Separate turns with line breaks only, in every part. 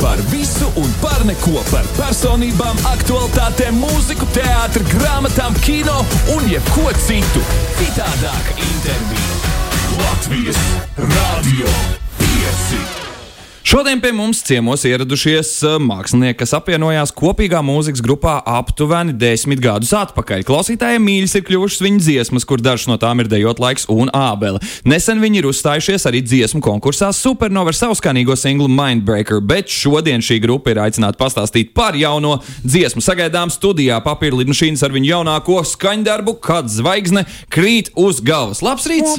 Par visu un par neko. Par personībām, aktualitātēm, mūziku, teātru, grāmatām, kino un jebko citu. Citādāk intervija Latvijas Radio 5.
Šodien pie mums ciemos ieradušies eh, mākslinieki, kas apvienojās kopīgā mūzikas grupā aptuveni desmit gadus atpakaļ. Klausītājiem mīļas ir kļuvušas viņu dziesmas, kur dažas no tām ir dejot laiks un ābele. Nesen viņi ir uzstājušies arī dziesmu konkursā Supernova ar savskanīgo singlu Mindbreaker, bet šodien šī grupa ir aicināta pastāstīt par jauno dziesmu. Sagaidām studijā papīra lidmašīnas ar viņu jaunāko skaņdarbu, kad zvaigzne krīt uz galvas. Labs rīts!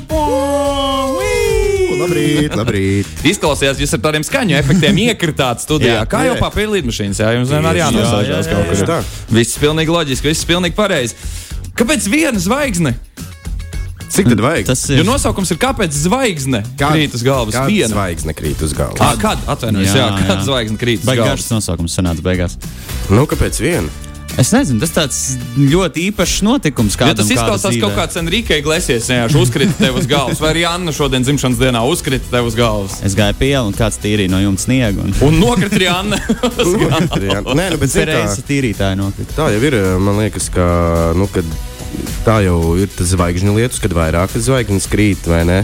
Labrīt, labrīt.
Izklausījās, jūs ar tādiem skaņu efektiem iekritāt studijā.
Jā,
kā jau
jā.
papīra līnijas, jā, jums vienmēr
Tieši tā, jā,
jānosaužās
jā,
kaut
jā,
kur.
tā.
Viss pilnīgi loģiski, viss pilnīgi pareizi. Kāpēc viena zvaigzne?
Cik tad vajag?
Tas
Jo
ir.
nosaukums ir kāpēc zvaigzne
Kāda-
krīt uz galvas.
kāda
Viena.
Zvaigzne krīt uz
Ah,
galvas.
kad atvainojos, jā, jā,
Jā,
kad
jā.
zvaigzne krīt uz
Vai
galvas.
garš nosaukums sanāca beigās?
Nu, kāpēc viena?
Es nezinu, tas tāds ļoti īpašs notikums.
Ja
Kādam,
tas izklausās kaut kāds Enrique Iglesias, kurš uzkrita tev uz galvas, vai arī Anna šodien dzimšanas dienā uzkrita tev uz galvas.
Es gāju pie ielas, un kāds tīrīja no jumta sniegu. Un...
Un nokrita arī Anna.
Jā. Nē, nu, bet zini
Reizes
kā,
tīrītāji nokrita.
tā jau ir. Man liekas, ka nu, kad tā jau ir tas zvaigžņu lietus, kad vairākas zvaigznes krīt vai ne.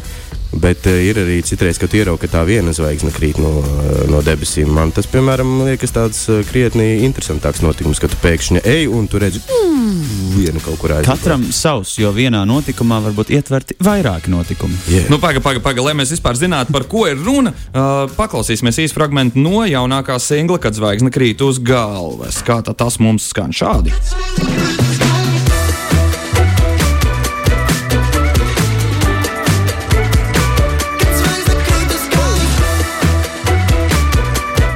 Bet eh, ir arī citreiz, kad ierauga, ka tā viena zvaigzne krīt no, eh, no debesīm. Man tas, piemēram, liekas tāds eh, krietni interesantāks notikums, ka tu pēkšņi ej un tu redzi mm, vienu kaut kur aizjūtu.
Katram savs, jo vienā notikumā var būt ietverti vairāki notikumi.
Yeah.
Nu, paga, paga, paga, lai mēs vispār zinātu, par ko ir runa, uh, paklausīsimies īsi fragment no jaunākā singla, kad zvaigzne krīt uz galvas. Kā tā tas mums skan šādi?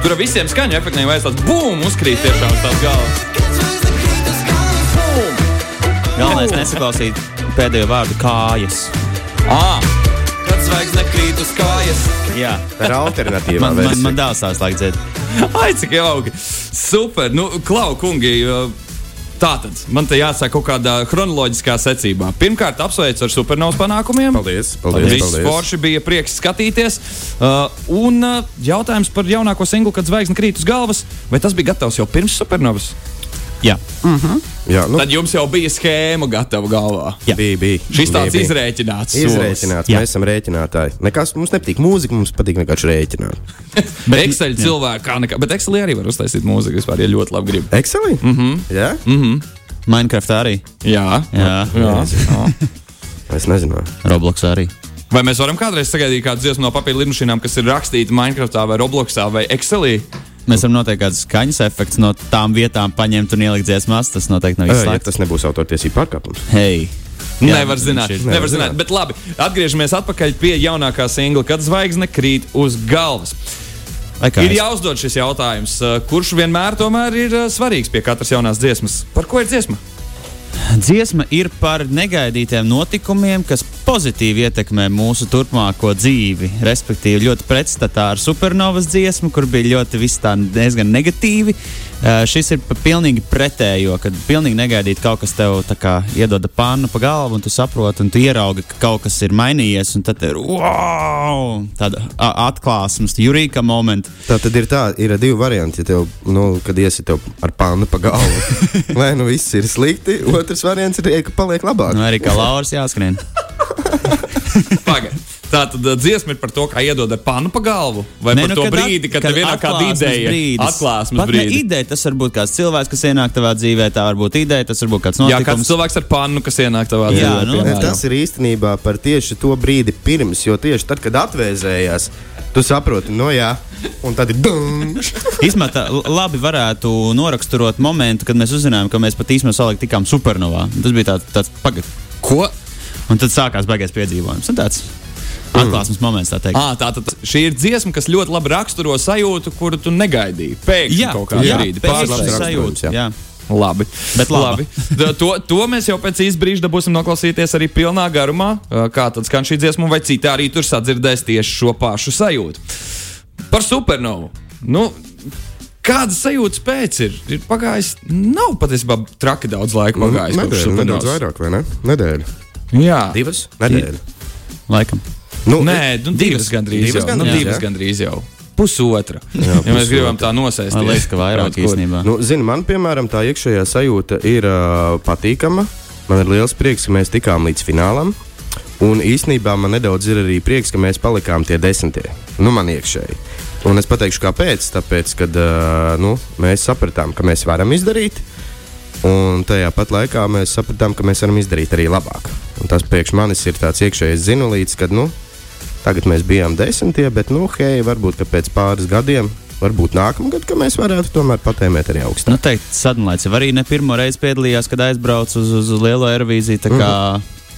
Tur ar visiem skaņu efektiem vajag tāds bum, uzkrīt tiešām uz tās galvas.
Galvenais nesaklausīt pēdējo vārdu kājas.
À, kad zvaigzne krīt uz kājas.
Jā,
Tā ir alternatīva.
man, man,
versija.
man dēls tās laik dzirdēt.
Ai, cik jauki! Super! Nu, klau, kungi! uh, Tātad, man te jāsaka kaut kādā chronoloģiskā secībā. Pirmkārt, apsveicu ar supernovas panākumiem.
Paldies, paldies,
Viss
paldies.
forši bija prieks skatīties. Uh, un uh, jautājums par jaunāko singlu, kad zvaigzne krīt uz galvas. Vai tas bija gatavs jau pirms supernovas?
Jā,
Jā, nu,
Tad jums jau bija schēma gatava galvā.
Jā.
bija, bija.
Šis tāds
bija, bija.
izrēķināts. solis.
Izrēķināts,
Jā.
mēs esam rēķinātāji. Nekas mums nepatīk. Mūzika mums patīk vienkārši rēķināt.
Bet Excel cilvēku kā nekā. Bet Excel arī var uztaisīt mūziku vispār, ja ļoti labi grib.
Excelī? Mm -hmm.
Mhm.
Jā, mm -hmm.
Minecraft arī.
Jā.
Jā,
Jā. Jā.
es nezinu.
Roblox arī.
Vai mēs varam kādreiz sagaidīt kādu dziesmu no papīra lidmašīnām, kas ir rakstīta Minecraftā vai Robloxā vai Excelī?
Mēs varam noteikti kādas skaņas efektus no tām vietām paņemt un ielikt dziesmās. Tas noteikti nav
Ē, Ja
izslēgts.
tas nebūs autortiesību pārkāpums.
Hei!
Jā, nevar zināt,
viņš ir-
nevar
nevar
zināt.
zināt.
Bet labi, atgriežamies atpakaļ pie jaunākā singla, kad zvaigzne krīt uz galvas.
Vai kā
Ir
es-
jāuzdod šis jautājums, uh, kurš vienmēr tomēr ir uh, svarīgs pie katras jaunās dziesmas. Par ko ir dziesma?
Dziesma ir par negaidītiem notikumiem, kas pozitīvi ietekmē mūsu turpmāko dzīvi. Respektīvi, ļoti pretstatā ar supernovas dziesmu, kur bija ļoti viss tā diezgan negatīvi. Eh, Šis ir pa pilnīgi pretējo, kad pilnīgi negaidīti kaut kas tev tā kā iedod pannu pa galvu, un tu saproti, un tu ieraugi, ka kaut kas ir mainījies, un tad tev ir wow! Tāda a- atklāsmes, jurīka momenta.
Tā tad ir tā, ir divi varianti. Ja tev, nu, kad iesi tev ar pānu pa galvu, vai nu viss ir slikti, otrs variants ir, ej, ka paliek labāk.
Nu, arī kā Lauris jāskrien.
Paga. Tā tad uh, dziesma ir par to, kā iedod ar pānu pa galvu. Vai
Nē,
ne, par nu, to
kad
kad brīdi,
at-
kad, kad tev ir kāda
atklāsmes
ideja,
brīdis.
atklāsmes
Pat ne
brīdis.
Ideja, tas var būt kāds cilvēks, kas ienāk tavā dzīvē, tā var būt ideja, tas var būt kāds
Jā, kāds
notikums.
cilvēks ar pānu, kas ienāk tavā
Jā,
dzīvē.
nu,
piemēram.
Ne, Tas ir īstenībā par tieši to brīdi pirms, jo tieši tad, kad atvēsējās, tu saproti, no jā, un tad ir dunk!
Īsmā tā l- labi varētu noraksturot momentu, kad mēs uzzinājām, ka mēs pat īstenībā salīgi tikām supernovā. Tas bija tāds, tāds pagad. Ko? Un tad sākās baigais piedzīvojums. Un tāds
Mm.
atklāsmes moments, tā teikt.
À, tā tad šī ir dziesma, kas ļoti labi raksturo sajūtu, kuru tu negaidīji. Pēkšņi
jā,
kaut kādā
jā,
brīdī
pēkšņi
pārslēdzas.
raksturojums,
sajūta.
jā.
Jā.
Labi.
Bet laba.
Da- To, to mēs jau pēc īsa brīža dabūsim noklausīties arī pilnā garumā. Kā tad skan šī dziesma, vai citā arī tur sadzirdēs tieši šo pašu sajūtu. Par supernovu. Nu, Kādas sajūtas pēc ir? ir pagājis, nav patiesībā traki daudz laika
Nu,
pagājis. kopš
Nedēļa, nedaudz
supernovas.
vairāk, vai ne? Nedēļa.
Jā,
Divas? Nedēļa.
Laikam.
Nu,
Nē, nu, divas gandrīz
divas
jau. Nu,
gandrīz,
divas
jā.
gandrīz jau. pusotra. Jā, ja mēs gribam tā nosaistīt,
Man liekas, ka vairāk īstenībā.
Nu, zini, man, piemēram, tā iekšējā sajūta ir uh, patīkama. Man ir liels prieks, ka mēs tikām līdz finālam. Un īsnībā man nedaudz ir arī prieks, ka mēs palikām tie desmitie. Nu, man iekšēji. Un es pateikšu, kāpēc. Tāpēc, ka uh, nu, mēs sapratām, ka mēs varam izdarīt. Un tajā pat laikā mēs sapratām, ka mēs varam izdarīt arī labāk. Un tas priekš manis ir tāds iekšējais zinulīts, ka nu, tagad mēs bijām desmitie, bet nu, hei, varbūt ka pēc pāris gadiem, varbūt nākamgad, ka mēs varētu tomēr patēmēt arī augstāk.
Noteikti Nu, sadalīts. Arī ne pirmo reizi piedalījās, kad aizbraucu uz, uz, uz Lielo aerovīziju. Tā kā,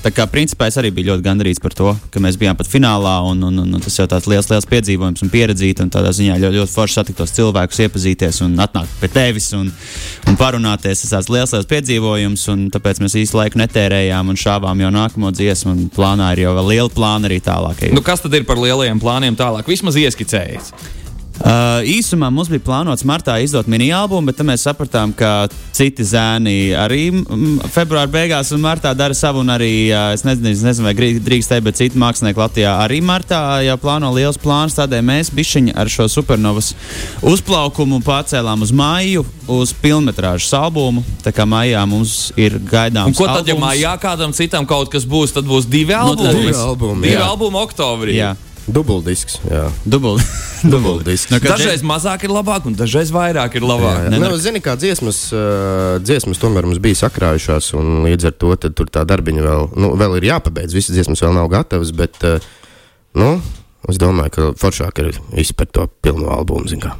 tā kā principā es arī biju ļoti gandarīts par to, ka mēs bijām pat finālā. Un, un, un, un tas jau tāds liels, liels piedzīvojums un pieredzīt. Un tādā ziņā ļoti, ļoti forši satiktos cilvēkus, iepazīties un atnākt pie tevis un, un parunāties. Tas tāds liels, liels piedzīvojums. un Tāpēc mēs īstu laiku netērējām un šāvām jau nākamo dziesmu. Un plānā ir jau vēl liela plāna arī tālāk. ejot.
Nu, kas tad ir par lielajiem plāniem tālāk? Vismaz ieskicējies.
Uh, īsumā mums bija plānots martā izdot mini-albumu, bet tad mēs sapratām, ka citi zēni arī mm, februāra beigās un martā dara savu. un Arī, uh, es nezinu, es nezinu vai grī- drīkst teikt, bet citi mākslinieki Latvijā arī martā jau plāno liels plāns. Tādēļ mēs bišķiņi ar šo supernovas uzplaukumu pārcēlām uz māju, uz pilnmetrāžu albumu. Tā kā mājā mums ir
Un
gaidāms.
ko tad, ja
albums.
mājā kādam citam kaut kas būs, tad būs divi albumi.
tad
Nu, divi albumi,
divi
jā.
albumi oktobrī.
Jā,
Dubultdisks. Jā,
dubult.
dubultdisks.
Nu, kad
Dažreiz mazāk ir labāk, un dažreiz vairāk ir
Jā,
labāk.
jā.
Ne,
Nu, zini, kā dziesmas, uh, dziesmas tomēr mums bija sakrājušās, un līdz ar to tad tur tā darbiņa vēl, nu, vēl ir jāpabeidz. Visas dziesmas vēl nav gatavas, bet uh, nu, es domāju, ka foršāk ir izpētīt to pilno albumu. zini kā.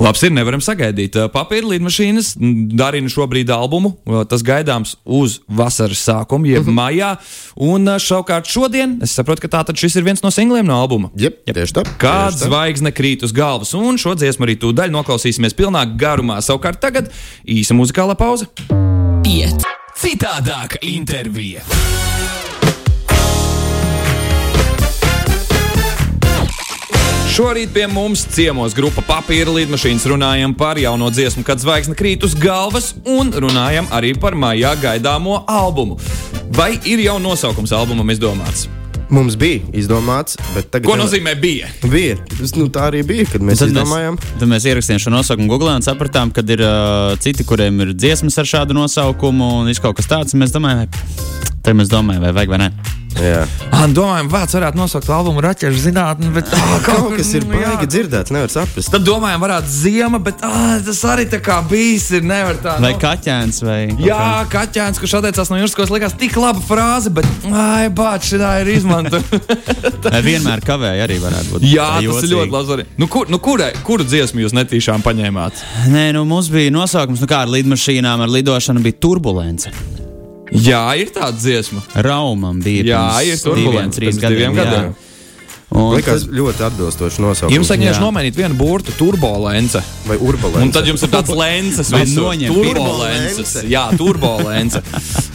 Labs ir, nevaram sagaidīt. Papīra līnijas darina šobrīd albumu. Tas gaidāms uz vasaras sākumu, jeb
Mhm.
maijā. Un šaukārt šodien, es saprotu, ka tātad šis ir viens no singliem no albuma.
Jep, Jep. Tieši tā.
Kā
tieši tā.
zvaigzne krīt uz galvas, un šo dziesmu arī tūdaļ noklausīsimies pilnā garumā. Savukārt tagad īsa muzikāla pauze.
Iet citādāk intervija.
Šorīt pie mums ciemos grupa papīra līnijas runājam par jauno dziesmu, kad zvaigzne krīt uz galvas, un runājam arī par maijā gaidāmo albumu. Vai ir jau nosaukums albumam izdomāts?
Mums bija izdomāts, bet tagad.
Ko nozīmē bija?
Bija. Tas, nu, tā arī bija, kad mēs
Tad
izdomājām.
Mēs, tad mēs ierakstījām šo nosaukumu Google un sapratām, ka ir uh, citi, kuriem ir dziesmas ar šādu nosaukumu un ir kaut kas tāds. un Mēs domājam, vai, tad mēs domājam, vai vajag vai nē.
Jā.
An, Ah, domājam, vārds varētu nosaukt albumu raķešu zinātnē, bet ah, tā
Ah, Kaut kas ir baigi dzirdēts, nevar saprast.
nu, Tad domājam, varētu ziema, bet ah, tas arī tā kā bijis. Ir, nevar tā.
Vai
nu.
kaķēns vai. kaut kā.
Jā, Kaķēns, kurš atteicās no Jurskos, likās tik laba frāze, bet, ai, bāc, šī ir izmantota.
Vai vienmēr kavēja arī varētu būt.
Jā,
Tā
tas ir
jocīgi.
ļoti labi. Nu, kur, nu, kurai, kuru dziesmu jūs netīšām paņēmāt?
Nē, nu mums bija nosaukums, nu kā ar lidmašīnām, ar lidošanu bija turbulence.
Jā, ir tāda dziesma.
Raumam bija.
Jā, ir
pirms diviem,
turbulence.
trīs
pirms diviem
jā.
gadiem.
Un
Likās ļoti atbilstoši
Jums
nosaukums.
vajag vienkārši
Jā.
nomainīt vienu burtu, turbolence.
Vai
Un
urbāns?
tad jums ir tāds lenses,
Man
visur.
noņem
turbolences. Jā, turbolence.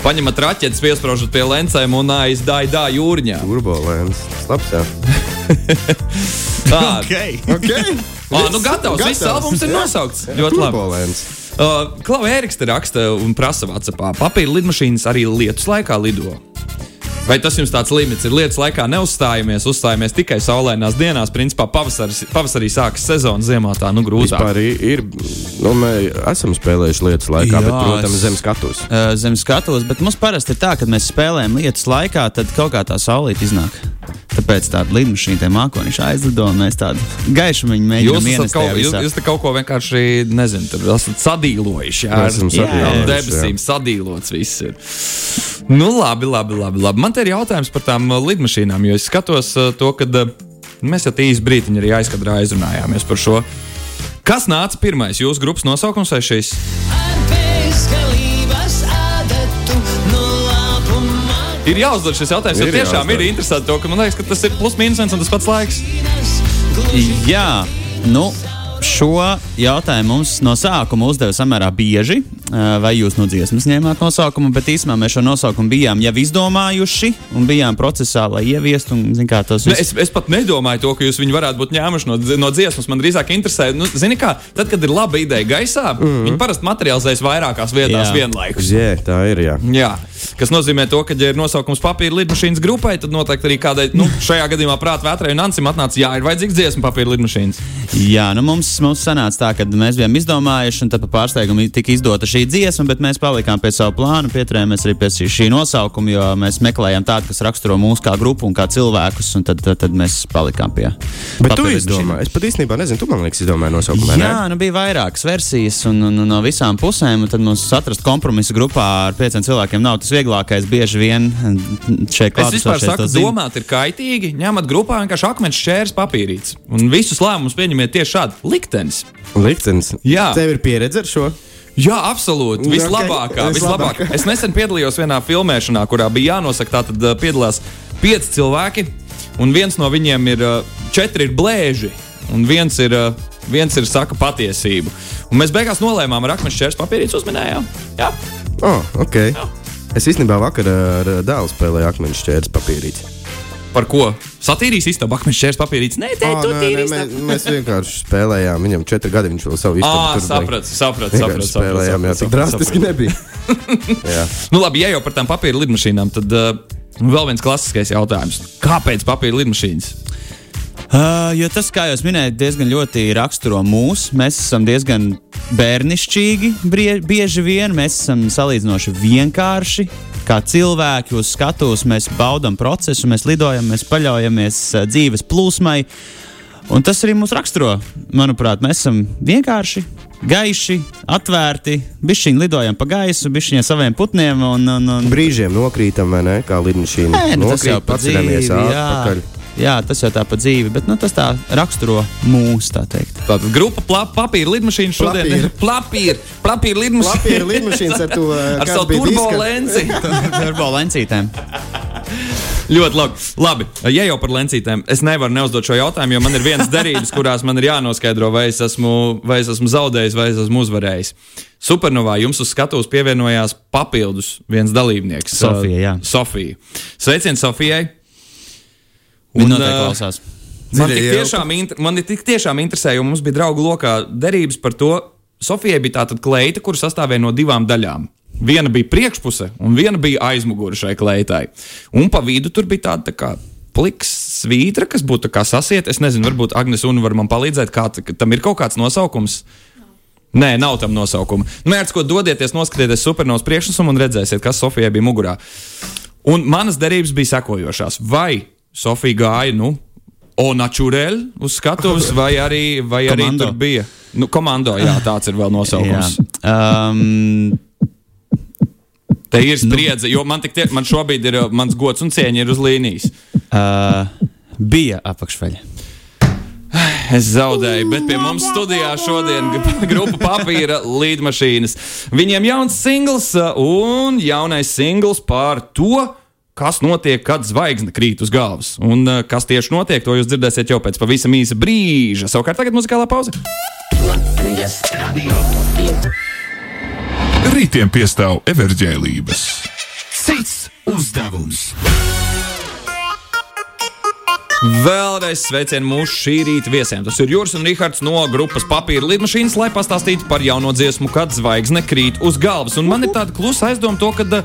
Paņemat raķetes, piesprāžat pie lencēm un aizdai dā jūrņā.
Urbāns. Labs, jā.
Tā.
Okay.
Okay.
Ā, nu gatavs, viss albums ir nosaukts. Ļoti labi.
Urbāns.
Uh, Klauba Eriksta raksta un prasa Vācijā. Papīra lidmašīnas arī lietus laikā lido. Vai tas jums tāds limits ir? Lietus laikā neuzstājamies, uzstājamies tikai saulainās dienās. Principā pavasaris, pavasarī sākas sezona, ziemā tā nu grūtāk.
Vispār i- ir. Nu, mēs esam spēlējuši lietas laikā,
Jā,
Jā, bet, protams,
es-
es... zem skatus.
Uh, zem skatuves, bet mums parasti ir tā, ka mēs spēlējam lietas laikā, tad kaut kā tā saulīte iznāk. Tāpēc tāda līnija, tā mākoņa aizlido, un mēs tādu gaišu viņu
Jūs
mēģinām
esat
ienest.
kaut,
tajā
jūs,
visā.
jūs te kaut ko vienkārši nezinu, tur esat sadīlojuši. Jā,
Esam
Jā,
sadīlojuši,
ar debesīm sadīlots viss ir. Nu, labi, labi, labi, labi. Man te ir jautājums par tām uh, lidmašīnām, jo es skatos uh, to, ka mēs jau īsi brīdiņi arī aizkadrā aizrunājāmies par šo. Kas nāca pirmais? Jūsu grupas nosaukums vai šis?
Ar bezgalības adatu no labuma
Ir jāuzdod šis jautājums, jo
Ir
tiešām
jāuzdod.
ir interesanti. To, ka man liekas, ka tas ir plus mīnus viens un tas pats laiks.
tīras, gluži
Jā, nu, šo jautājumu mums no sākuma uzdeva samērā bieži, eh, vai jūs no dziesmas ņēmāt nosaukumu, bet īstenībā mēs šo nosaukumu bijām jau izdomājuši un bijām procesā, lai ieviestu. Un, zin, kā, tas
Ne,
viss-
es, Nu, es pat nedomāju, to, ka jūs viņu varētu būt ņēmuši no, dzi- no dziesmas. Man drīzāk interesē, nu, zini, kā, tad, kad ir laba ideja gaisā, mm -hmm. viņi parasti materializējas vairākās vietās
Mhm. Jā.
jā. vienlaikus.
Jā, tā ir. Jā.
Jā, kas nozīmē to, ka, ja ir nosaukums papīra lidmašīnas grupai, tad noteikti arī kādai, nu, šajā gadījumā prātā vētrai un Ansim atnāca, jā, ir vajadzīgs dziesmu papīra lidmašīnas.
Jā, nu mums, mums sanāca tā, ka mēs bijām izdomājuši, un tad pa pārsteigumu tika izdota šī dziesma, bet mēs palikām pie sava plāna, pieturējāmies arī pie šī- šī nosaukuma, jo mēs meklējām tādu, kas raksturo mūsu kā grupu un kā cilvēkus, un tad, tad, tad mēs palikām pie.
Bet tu
papīra
izdomāji, es pat īstenībā nezinu, tu man liekas, izdomāji nosaukumu. vai ne?
Jā, nu bija vairākas versijas, un, un, un no visām pusēm. un Tad mums atrast kompromisu grupā ar pieciem cilvēkiem nav tas vieglākais. Bieži vien mm, šeit
Es
klātesošie
vispār
to
saku,
zina.
domāt ir kaitīgi, ņemat grupā vienkārši akmens šķērs papīrītis. Un visus lēmumus pieņemiet tieši šādi - liktenis.
Liktenis.
Jā.
Tev ir pieredze ar šo?
Jā, absolūti.
Nu,
Vislabākā, vislabākā.
ok, vislabākā.
Es nesen piedalījos vienā filmēšanā, kurā bija jānosaka, tā tad eh, piedalās pieci cilvēki, un viens no viņiem ir eh, četri ir blēži, un viens ir, eh, viens ir saka patiesību. Un mēs beigās nolēmām ar akmens šķērs papīrītis uzminējām. Jā.
Oh, okay. Es īstenībā vakarā ar ā, dēlu spēlēju akmeņu šķērs papīrīti.
Par ko? Satīrijas istaba, akmens šķērs papīrītis. Nē, tā
Ā,
ir
Ah, nē, nē,
tīrība.
mēs, mēs vienkārši spēlējām. Viņam četri gadi viņš vēl savu
Ah,
izpētīju.
sapratu, sapratu, sapratu.
Vienkārši spēlējām, jā, tik drastiski nebija. jā.
Nu, labi, ja jau par tām papīra lidmašīnām, tad uh, vēl viens klasiskais jautājums. Kāpēc papīra lidmašīnas?
Ā, Ah, Jo tas, kā jūs minējāt, diezgan ļoti raksturo mūs. Mēs esam diezgan bērnišķīgi, brie- bieži vien mēs esam salīdzinoši vienkārši. Kā cilvēki uz skatuves, mēs baudām procesu, mēs lidojam, mēs paļaujamies ā, dzīves plūsmai. Un tas arī mūs raksturo. Manuprāt, mēs esam vienkārši, gaiši, atvērti. Bišķiņi lidojam pa gaisu, bišķiņi ar saviem putniem. Un, un, un...
Brīžiem nokrītam, vai ne? Kā lidmašīna.
Nē, nu, tas
Nokrīt,
jau pa
paceļamies
dzīvi, jā.
atpakaļ.
jā, tas jau tā pa dzīvi, bet nu, tas tā raksturo mūsu, tā teikt.
Tātad grupa pla- papīra lidmašīna šodien. Plapīra. Plapīra
Papīra
lidmašīna.
lidmašīnas ar to
Ar
kas
savu
bija
turbo
diska?
lenci.
Ar balancītēm.
Ļoti labi. labi. Ja jau par lencītēm, es nevaru neuzdot šo jautājumu, jo man ir viens derības, kurās man ir jānoskaidro, vai es esmu, vai es esmu zaudējis, vai es esmu uzvarējis. Supernovā jums uz skatuves pievienojās papildus viens dalībnieks.
Sofija, jā.
Uh, Sofija. Sveiciens Sofijai.
Viņa
uh,
noteikti klausās.
Man
Dziļi
tik,
ieelpa.
tiešām, inter- man tik tiešām interesē, jo mums bija draugu lokā derības par to. Sofijai bija tāda kleita, kur sastāvēja no divām daļām. Viena bija priekšpuse, un viena bija aizmugure šai kleitai. Un pa vidu tur bija tāda tā kā pliks svītra, kas būtu tā kā sasiet. Es nezinu, varbūt Agnēs un var man palīdzēt, kā t- tam ir kaut kāds nosaukums. Nē, nav tam nosaukuma. Mērķis, ko dodieties, noskatieties supernovas priekšnesumu un redzēsiet, kas Sofijai bija mugurā. Un manas derības bija sekojošās. Vai Sofija gāja, nu, onačurēļ uz skatuves, vai arī, vai arī
Komando.
tur bija? Nu, komando, jā, tāds ir vēl nosaukums. Jā.
Um,
Te ir spriedze, jo man, tik tie, man šobrīd ir uh, mans gods un cieņa ir uz līnijas.
uh, bija apakšveļa.
Es zaudēju, bet pie mums studijā šodien gr- grupa papīra līdmašīnas. Viņiem jauns singls uh, un jaunais singls par to, kas notiek, kad zvaigzne krīt uz galvas. Un uh, kas tieši notiek, to jūs dzirdēsiet jau pēc pavisam īsa brīža. Savukārt tagad muzikālā pauze.
Rītiem piestāv everģēlības. Cits uzdevums.
Vēlreiz sveicienu mūsu šī rīta viesiem. Tas ir Juris un Rīgards no grupas papīra lidmašīnas, lai pastāstītu par jauno dziesmu, kad zvaigzne krīt uz galvas. Un man ir tāda klusa aizdoma, to, ka ā,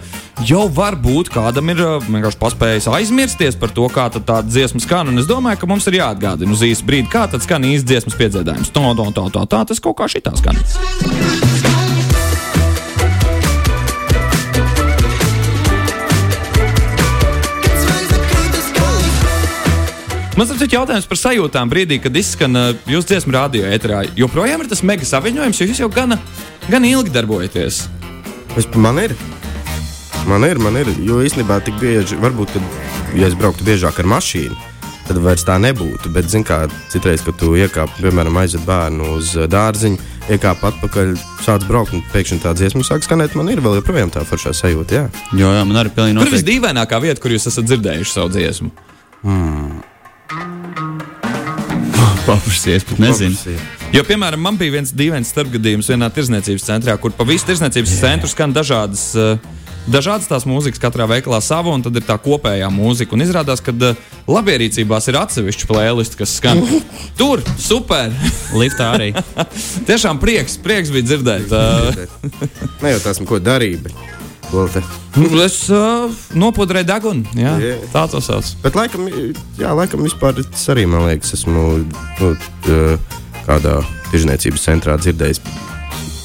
jau var būt kādam ir ā, vienkārši paspējis aizmirsties par to, kā tad tāda dziesma skan. Un es domāju, ka mums ir jāatgādina uz īsu brīdi, kā tad skan īsts dziesmas piedziedājums. Tā, tā, tā, tā, tā, tas kaut kā šitā skan. Man ir jautājums par sajūtām brīdī, kad izskan uh, jūsu dziesmu radio etrā. Joprojām ir tas mega saviņojums, jo jūs jau gana, gan ilgi darbojaties.
Es, man ir. Man ir, man ir. Jo īstenībā tik bieži, varbūt, kad, ja es brauktu biežāk ar mašīnu, tad vairs tā nebūtu. Bet, zin kā, citreiz, kad tu iekāp, piemēram, aizved bērnu uz eh, dārziņu, iekāp atpakaļ, sāc braukt un pēkšņi tā dziesma sāk skanēt, man ir vēl joprojām tā foršā sajūta. Jā.
Jo, jā, man arī pilnīgi
Kur ir
noteikti.
visdīvainākā vieta, kur jūs esat dzirdējuši savu dziesmu?
Paprasies, pat nezinu.
Paprasīja.
Jo, piemēram, man bija viens dīvains starpgadījums vienā tirzniecības centrā, kur pa visu tirzniecības centru skan dažādas, eh, dažādas tās mūzikas, katrā veikalā sava, un tad ir tā kopējā mūzika. Un izrādās, ka eh, labierīcībās ir atsevišķa playlist, kas skan tur, super!
Liftā arī.
Tiešām prieks, prieks bija dzirdēt. eh,
Ne jau tas, ko darīja, bet vēl te.
nu, Es eh, nopudrēju degunu. Jā,
Jā.
tā tas sauc.
Bet laikam, jā, laikam vispār tas arī man liekas, esmu nu, t- kādā tirzniecības centrā dzirdējis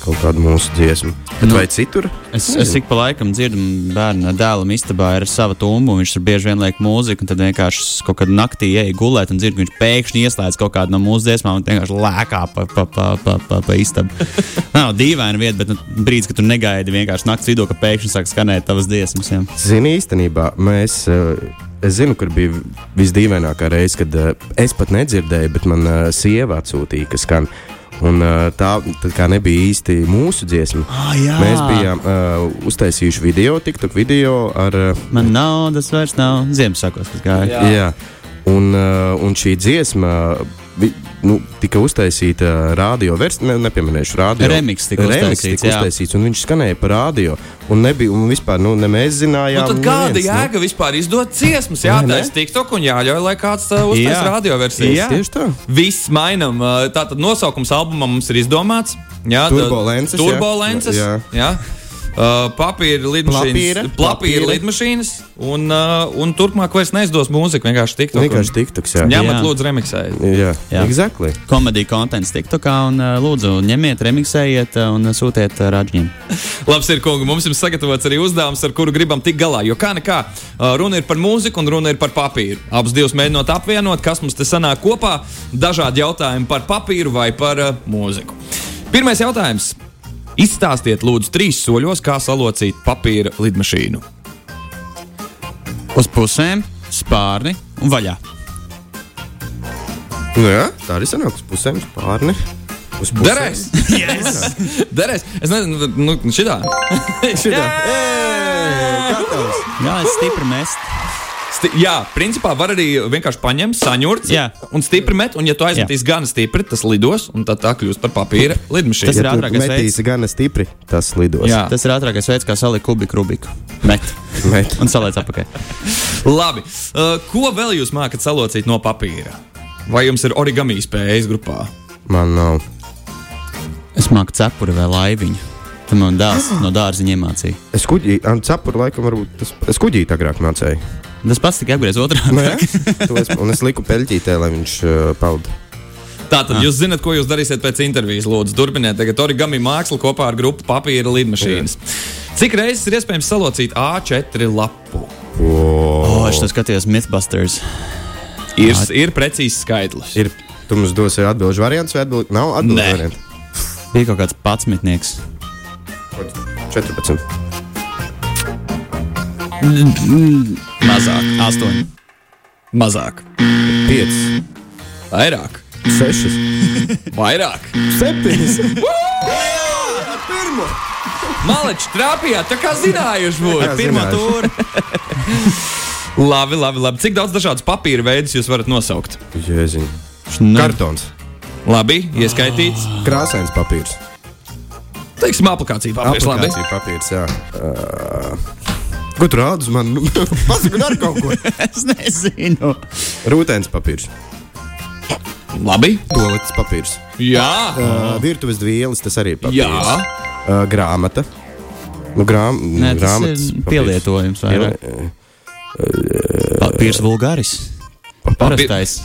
kaut kādu mūsu dziesmu. Bet
Nu.
vai citur?
Es, es ik pa laikam dzirdu, bērnu dēlam istabā ir sava tumba, un viņš tur bieži vien liek mūziku, un tad vienkārši es kaut kad naktī eju gulēt, un dzirdu, ka viņš pēkšņi ieslēdz kaut kādu no mūsu dziesmām, un vienkārši lēkā pa, pa, pa, pa, pa, pa istabu. Nav dīvaina vieta, bet nu, brīdis, kad tu negaidi vienkārši naktas vidū, ka pēkšņi sāk skanēt tavas dziesmas. Jā.
Zini, īstenībā mēs. eh, Es zinu, kur bija visdīvainākā reize, kad eh, es pat nedzirdēju, bet man eh, sieva atsūtīja, kas skan. Un eh, tā, tā kā nebija īsti mūsu dziesma.
Ah, jā.
Mēs bijām uh, uztaisījuši video, TikTok video ar. Uh,
Man naudas vairs nav. Ziemassvētkos, kas gāja.
jā. Jā. Un, uh, un šī dziesma vi- nu, tika uztaisīta radio versijā, ne, nepieminēšu radio.
Remix tika
Remix
uztaisīts,
tika
jā.
uztaisīts, un viņš skanēja pa radio. Un nebija, un vispār, nu, ne mēs
Nu,
zinājām,
tad
ne
kāda
viens, nu.
jēga vispār izdot ciesmas? Jā,
Vai
tā
ne?
ir TikTok un jāļauj, lai kāds eh,
Jā.
uztais radioversiju.
Jā.
Tieši tā.
Viss mainām. Tātad nosaukums albumam mums ir izdomāts. Jā, tā-
Turbolences, jā.
Turbolences. Jā.
Jā.
jā. Uh, papīra lidmašīnas,
Plapīra.
plapīra
Plapīra.
lidmašīnas, un, uh, un turpmāk vairs neizdos mūziku. Vienkārši tik tālu.
Nu, Vienkārši TikToks. Jā,
Ņemat,
Jā.
lūdzu, remiksējiet.
jā.
Jā.
jā. Exactly.
Komēdija konteksts TikTokā un ā, lūdzu ņemiet, remixējiet ā, un uh, sūtiet ā, radžņiem.
Labs ir, kungi, mums ir sagatavots arī uzdevums, ar kuru gribam tikt galā. Jo kā nekā, uh, runa ir par mūziku un runa ir par papīru. Abas divas mēģinot apvienot, kas mums te sanāk kopā, dažādi jautājumi par papīru vai par uh, mūziku. Pirmais jautājums. Izstāstiet, lūdzu, trīs soļos, kā salocīt papīra lidmašīnu.
Uz pusēm, spārni un vaļā.
Nu, jā, tā arī sanāk uz pusēm, uz pārni. Uz pusēm.
Derēs! Yes! Derēs! Es nezinu, nu, šitā. šitā.
Gatavs.
Jā, es stipri mest.
Sti jā, principā var arī vienkārši paņemt, saņurt
Jā.
un stipri met. Un, ja tu aizmetīs gan stipri, tas lidos, un tad tā kļūst par papīra
Tas
lidmašīnu.
ir
Ja tu
ātrākais
metīsi gana stipri, tas lidos.
Jā.
Tas ir ātrākais veids, kā salikt kubiku rubiku. Met
Bet,
un saliec apakaļ.
Labi. Uh, ko vēl jūs mākat salocīt no papīra? Vai jums ir origami spējas grupā?
man nav.
Es māku cepuri vai laiviņu. Tam man dēls no dārziņa iemācīja.
Es kuģī, un cepuru laikam varbūt tas, es kuģī agrāk mācīju.
Tas pats tikai apgriez otrā.
Nu, jā, To es, un es liku peļķītē, lai viņš uh, peld. Ah.
Tātad jūs zinat, ko jūs darīsiet pēc intervijas. Lūdzu, turpiniet tagad origami mākslu kopā ar grupu papīra lidmašīnas. Cik reizes ir iespējams salocīt A4 lapu?
O, Oh, es to skatījos Mythbusters.
Ir, ir precīzs skaitlis.
Ir, tu mums dosi atbildžu variants, vai atbild, nav
Nē.
atbildžu variants?
Bija kaut kāds patsmitnieks.
14.
Mazāk,
Astoņi.
mazāk,
5,
vairāk,
6,
vairāk.
7.
Maleči trāpījāt, tā kā zinājuši būtu.
Jā,
Pirmā
zinājuši.
tūra. labi, labi, labi. Cik daudz dažādas papīra veidus jūs varat nosaukt?
Jēziņ.
Nu.
Kartons.
Labi, ieskaitīts.
Ah. Krāsains papīrs.
Teiksim, aplikācija papīrs. Labi.
Aplikācija papīrs, jā. Uh, Ko tu rādi uz mani? Pasaki, dari kaut ko.
Es nezinu.
Rūtēns papīrs,
labi.
toaletes papīrs,
Jā,
uh, virtuves vielas, tas arī ir papīrs.
jā.
Uh, grāmata. Nu, grām,
Nē, tas ir
grāmatas papīrs.
pielietojums. vairāk. Papīrs vulgāris. Parastais.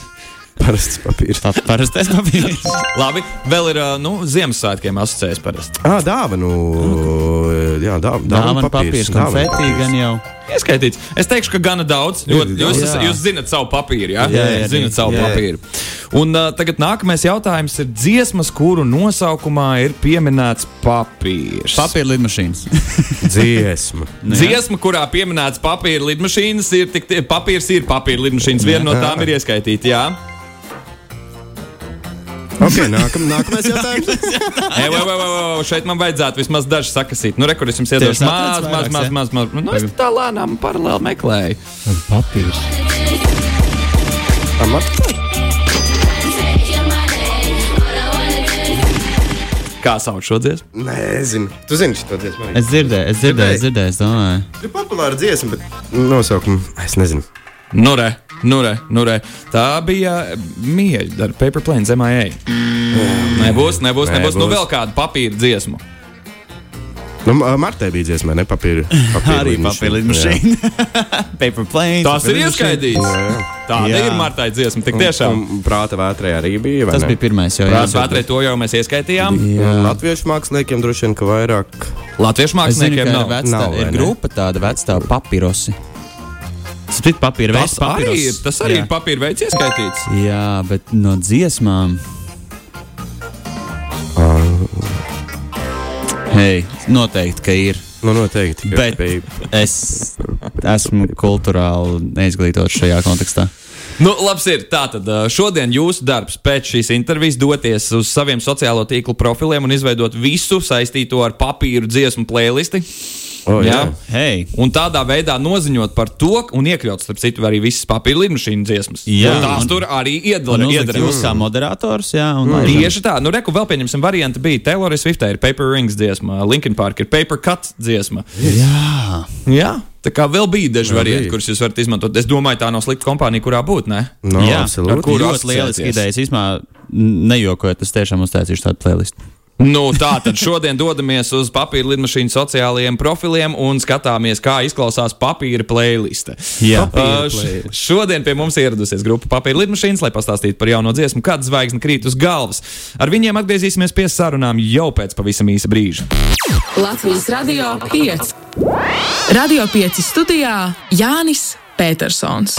Parasts papīrs.
Pa- Parastais papīrs.
labi. Vēl ir ā, nu, Ziemassvētkiem asociēts parasti.
Ah, dāvanu. Jā, dā,
Dāvana papīrs, konfeti gan jau.
Ieskaitīts. Es teikšu, ka gana daudz. Ļoti, jūs,
daudz.
esat-
Jā.
jūs zinat savu papīru, jā?
Jā, jā,
zinat
jā.
savu
Jā, jā.
papīru. Un uh, tagad nākamais jautājums ir dziesmas, kuru nosaukumā ir pieminēts papīrs.
Papīra lidmašīnas.
Dziesma.
Nu, Dziesma, kurā pieminēts papīra lidmašīnas, ir tik tie papīrs, ir papīra lidmašīnas. Viena no tām ir ieskaitīta. Jā,
ok, nākam, nākamais jautājums.
Ei, vai, vai, vai, vai, vai, šeit man vajadzētu vismaz dažas sakasīt. Nu, rekur, es jums
Tieši
iedodu
atradis
maz, maz,
vairākas,
maz,
jā?
maz, maz. Nu, es tā lēnām paralēli meklēju.
Papīrs.
Amat.
Take your mind
Kā sauc šo dziesmu?
Nezinu. Tu zini, šo dziesmu. arī?
Es dzirdēju, es dzirdēju, es dzirdēju, es domāju.
Ir populāra dziesma, bet nosaukumu es nezinu.
Nu, re, nu, re, nu, re. Tā bija mīļa ar paper plane zemā ej. Nebūs, nebūs, nebūs. Nu,
Nebūs.
vēl kādu papīra dziesmu.
Nu, Ma- Martai bija dziesma, ne papīra. papīra
Arī
līnija.
papildus
Jā.
mašīna. Paper plane.
Tas ir ieskaidīts. Tā
Jā.
ir Martai dziesma, tik tiešām.
Un Prāta vētrē arī bija. vai
Tas
ne?
bija pirmais jau.
Prāts vētrē to jau mēs ieskaitījām.
Un Latviešu māksliniekiem droši vien, ka vairāk.
Latviešu
Es zinu, ka
māksliniekiem
ir,
nav.
vectā,
Nav, vai
ir
ne?
grupa tāda vecā papirosi. Split papīra
Tas
veids,
arī ir, tas arī ir
Jā.
papīra veids ieskaitīts.
Jā, bet no dziesmām. Hei, noteikti, ka ir.
Nu, noteikti. ka
Bet
bija-
es esmu kultūrāli neizglītots šajā kontekstā.
Nu, labs ir. Tātad ā, šodien jūsu darbs pēc šīs intervijas doties uz saviem sociālo tīklu profiliem un izveidot visu saistīto ar papīru dziesmu playlisti.
O,
Oh,
jā.
Jā.
Hei,
Un tādā veidā noziņot par to, un iekļaut, starp citu, arī visas papīra līnijas dziesmas.
Jā.
Un tās tur arī
un
iedarbojas.
uzlikt jūs kā moderators, jā, un lai
Tieši tā, nu, reku vēl pieņemsim, varianti bija Taylor Swift, ir Paper Rings dziesma, Linkin Park ir Paper Cut dziesma.
Jā,
Jā, tā kā vēl bija daži
Vēl
varianti,
bija.
kurus jūs varat izmantot. Es domāju, tā nav slikta kompānija, kurā būt, ne?
No,
jā.
absolūti.
Ar kuru ļoti
asociēties?
lieliski idejas. Īsmā, nejokojot, es tiešām uztaisīšu tādu playlistu.
Nu, tā tad šodien dodamies uz papīra lidmašīnas sociālajiem profiliem un skatāmies, kā izklausās papīra playliste.
Jā.
Papīra playlist. Šodien pie mums ieradusies grupa papīra lidmašīnas, lai pastāstītu par jauno dziesmu, kad zvaigzne krīt uz galvas. Ar viņiem atgriezīsimies pie sarunām jau pēc pavisam īsa brīža.
Latvijas Radio 5. Radio 5 studijā Jānis Petersons.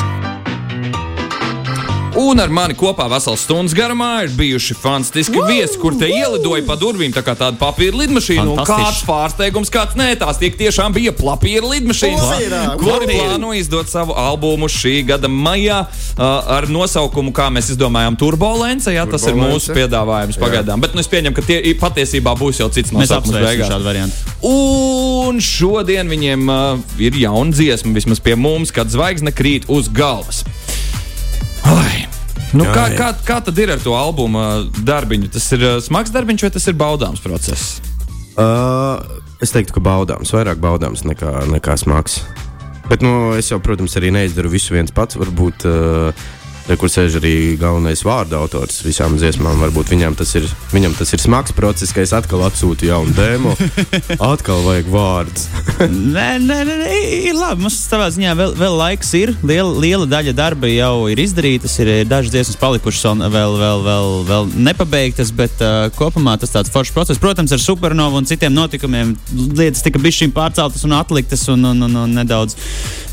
Un ar mani kopā vesels stundas garumā ir bijuši fantastiski viesi, kur te ielidoja pa durvīm, tā kā tāda papīra lidmašīna. Un kāds
Fantastiski.
pārsteigums, kāds nē, tās tik tiešām bija papīra lidmašīnas,
Papīrā,
kuri
papīra.
plāno izdot savu albumu šī gada maijā uh, ar nosaukumu, kā mēs izdomājām, Turbolence. Jā, tas ir
Turbolence.
mūsu piedāvājums pagaidām. Bet nu, es pieņemu, ka tie i- patiesībā būs jau cits
Mēs
nosaukums
apsveicam
beigās.
šādu variantu.
Un šodien viņiem uh, ir jauna dziesma, vismaz pie mums, kad zvaigzne krīt uz galvas. Ai. Nu, kā,
Ai.
kā, kā tad ir ar to albuma darbiņu? Tas ir uh, smags darbiņš vai tas ir baudāms process?
Uh, es teiktu, ka baudāms, vairāk baudāms nekā, nekā smags. Bet, nu, es jau, protams, arī neizdaru visu viens pats. Varbūt, uh, te, kur sēž arī galvenais vārdu autors visām dziesmām, varbūt viņam tas ir, viņam tas ir smags process, ka es atkal atsūtu jaunu demo. Atkal vajag vārdus.
Nē, nē, nē, nē, ir labi. Mums savā ziņā vēl, vēl laiks ir. Liela, liela daļa darba jau ir izdarītas, ir ir dažas dziesmas palikušas un vēl, vēl, vēl, vēl nepabeigtas, bet uh, kopumā tas tāds foršs process. Protams, ar supernovu un citiem notikumiem lietas tika bijušas pārceltas un atliktas un, un, un, un nedaudz,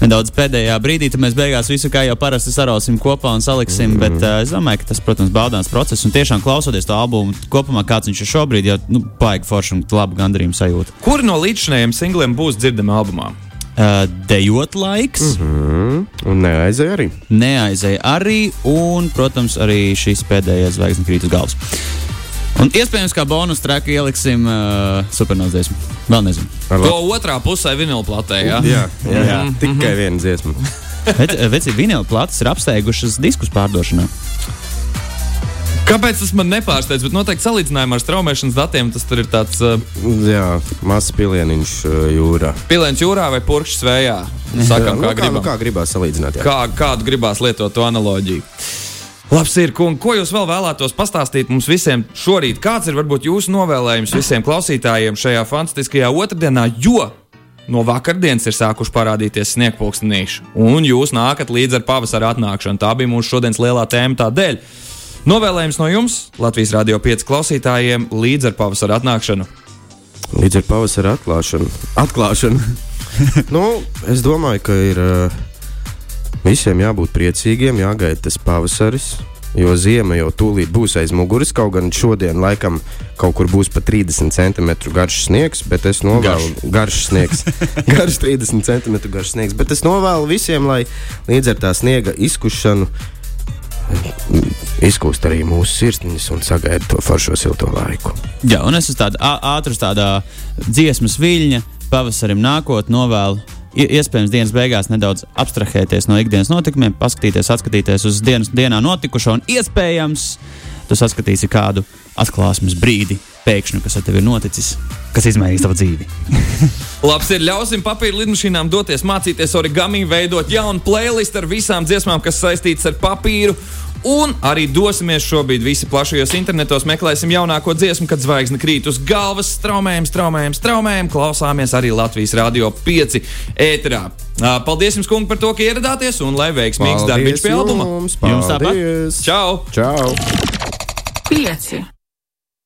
nedaudz pēdējā brīdī. Tad mēs beigās visu kā jau parasti sarausim kopā un saliksim. Mm. Bet uh, es domāju, ka tas, protams, baudāms process un tiešām klausoties to albumu kopumā, kāds viņš ir šobrīd, jau nu, baigi forši un labu gandarījumu sajūtu
Kur no līdzinējiem singliem būs dzirdami albumā?
uh, dejot laiks, mm -hmm.
Un neaizēja arī.
neaizēja arī, un, protams, arī šīs pēdējās zvaigznes krīt uz galvas. Un iespējams, kā bonus traku ieliksim uh, supernovas. Vēl nezinu.
Ar
To
labu-
otrā pusē vinilplatē, jā?
Jā, jā, jā.
Mhm,
tikai viena dziesma.
Bet eh, veci vinila plātas ir apsteigušas diskus pārdošanā.
Kāpēc tas man nepārsteidz, bet noteikti salīdzinājumā ar straumēšanas datiem tas tur ir tāds uh,
Jā, mazs pilieniņš uh, jūrā.
piliens jūrā vai purkšs vējā? Sakam, kā
nu, nu,
gribam.
kā gribās salīdzināt? jā.
kā, kādu gribās lietot to analoģiju. Labs ir, kungi, ko jūs vēl vēlētos pastāstīt mums visiem šorīt? Kāds ir varbūt jūsu novēlējums visiem klausītājiem šajā fantastiskajā otrdienā, jo no vakardienas ir sākuši parādīties sniegpulkstenīši, un jūs nākat līdz ar pavasara atnākšanu. Tā bija mūsu šodienas lielā tēma tādēļ. Novēlējums no jums, Latvijas Rādio 5 klausītājiem, līdz ar pavasara atnākšanu.
Līdz ar pavasara atklāšanu. Atklāšanu. nu, es domāju, ka ir uh, visiem jābūt priecīgiem, jāgaida tas pavasaris. Jo zima jau tūlīt būs aiz muguras, kaut gan šodien laikam kaut kur būs pat 30 cm garš sniegs, bet es novēlu garš sniegs. garš 30 cm garš sniegs, bet es novēlu visiem, lai līdz ar tā sniega izkušanu eh, izkūst arī mūsu sirsniņas un sagaida to foršo silto laiku.
Jā, un es esmu tāds ātrs, tādā dziesmas viļņa, pavasarim nākotnē novēlu. i- Iespējams, dienas beigās nedaudz abstrahēties no ikdienas notikumiem, paskatīties, atskatīties uz dienas dienā notikušo, un iespējams, tu saskatīsi kādu atklāsmes brīdi. pēkšņu, kas ar tevi ir noticis, kas izmainīs tavu dzīvi.
Labs ir ļausim papīra lidmašīnām doties mācīties origami, veidot jaunu playlistu ar visām dziesmām, kas saistītas ar papīru. Un arī dosimies šobrīd visi plašajos internetos, meklēsim jaunāko dziesmu, kad zvaigzne krīt uz galvas, traumējam, traumējam, traumējam, klausāmies arī Latvijas Rādio 5 ēterā. Ā, Paldies jums, kungi, par to, ka ieradāties un lai
é um
veiksmīgs darbiņš pie albuma.
Jums,
Jums tāpat.
paldies!
Čau!
Čau!
pieci.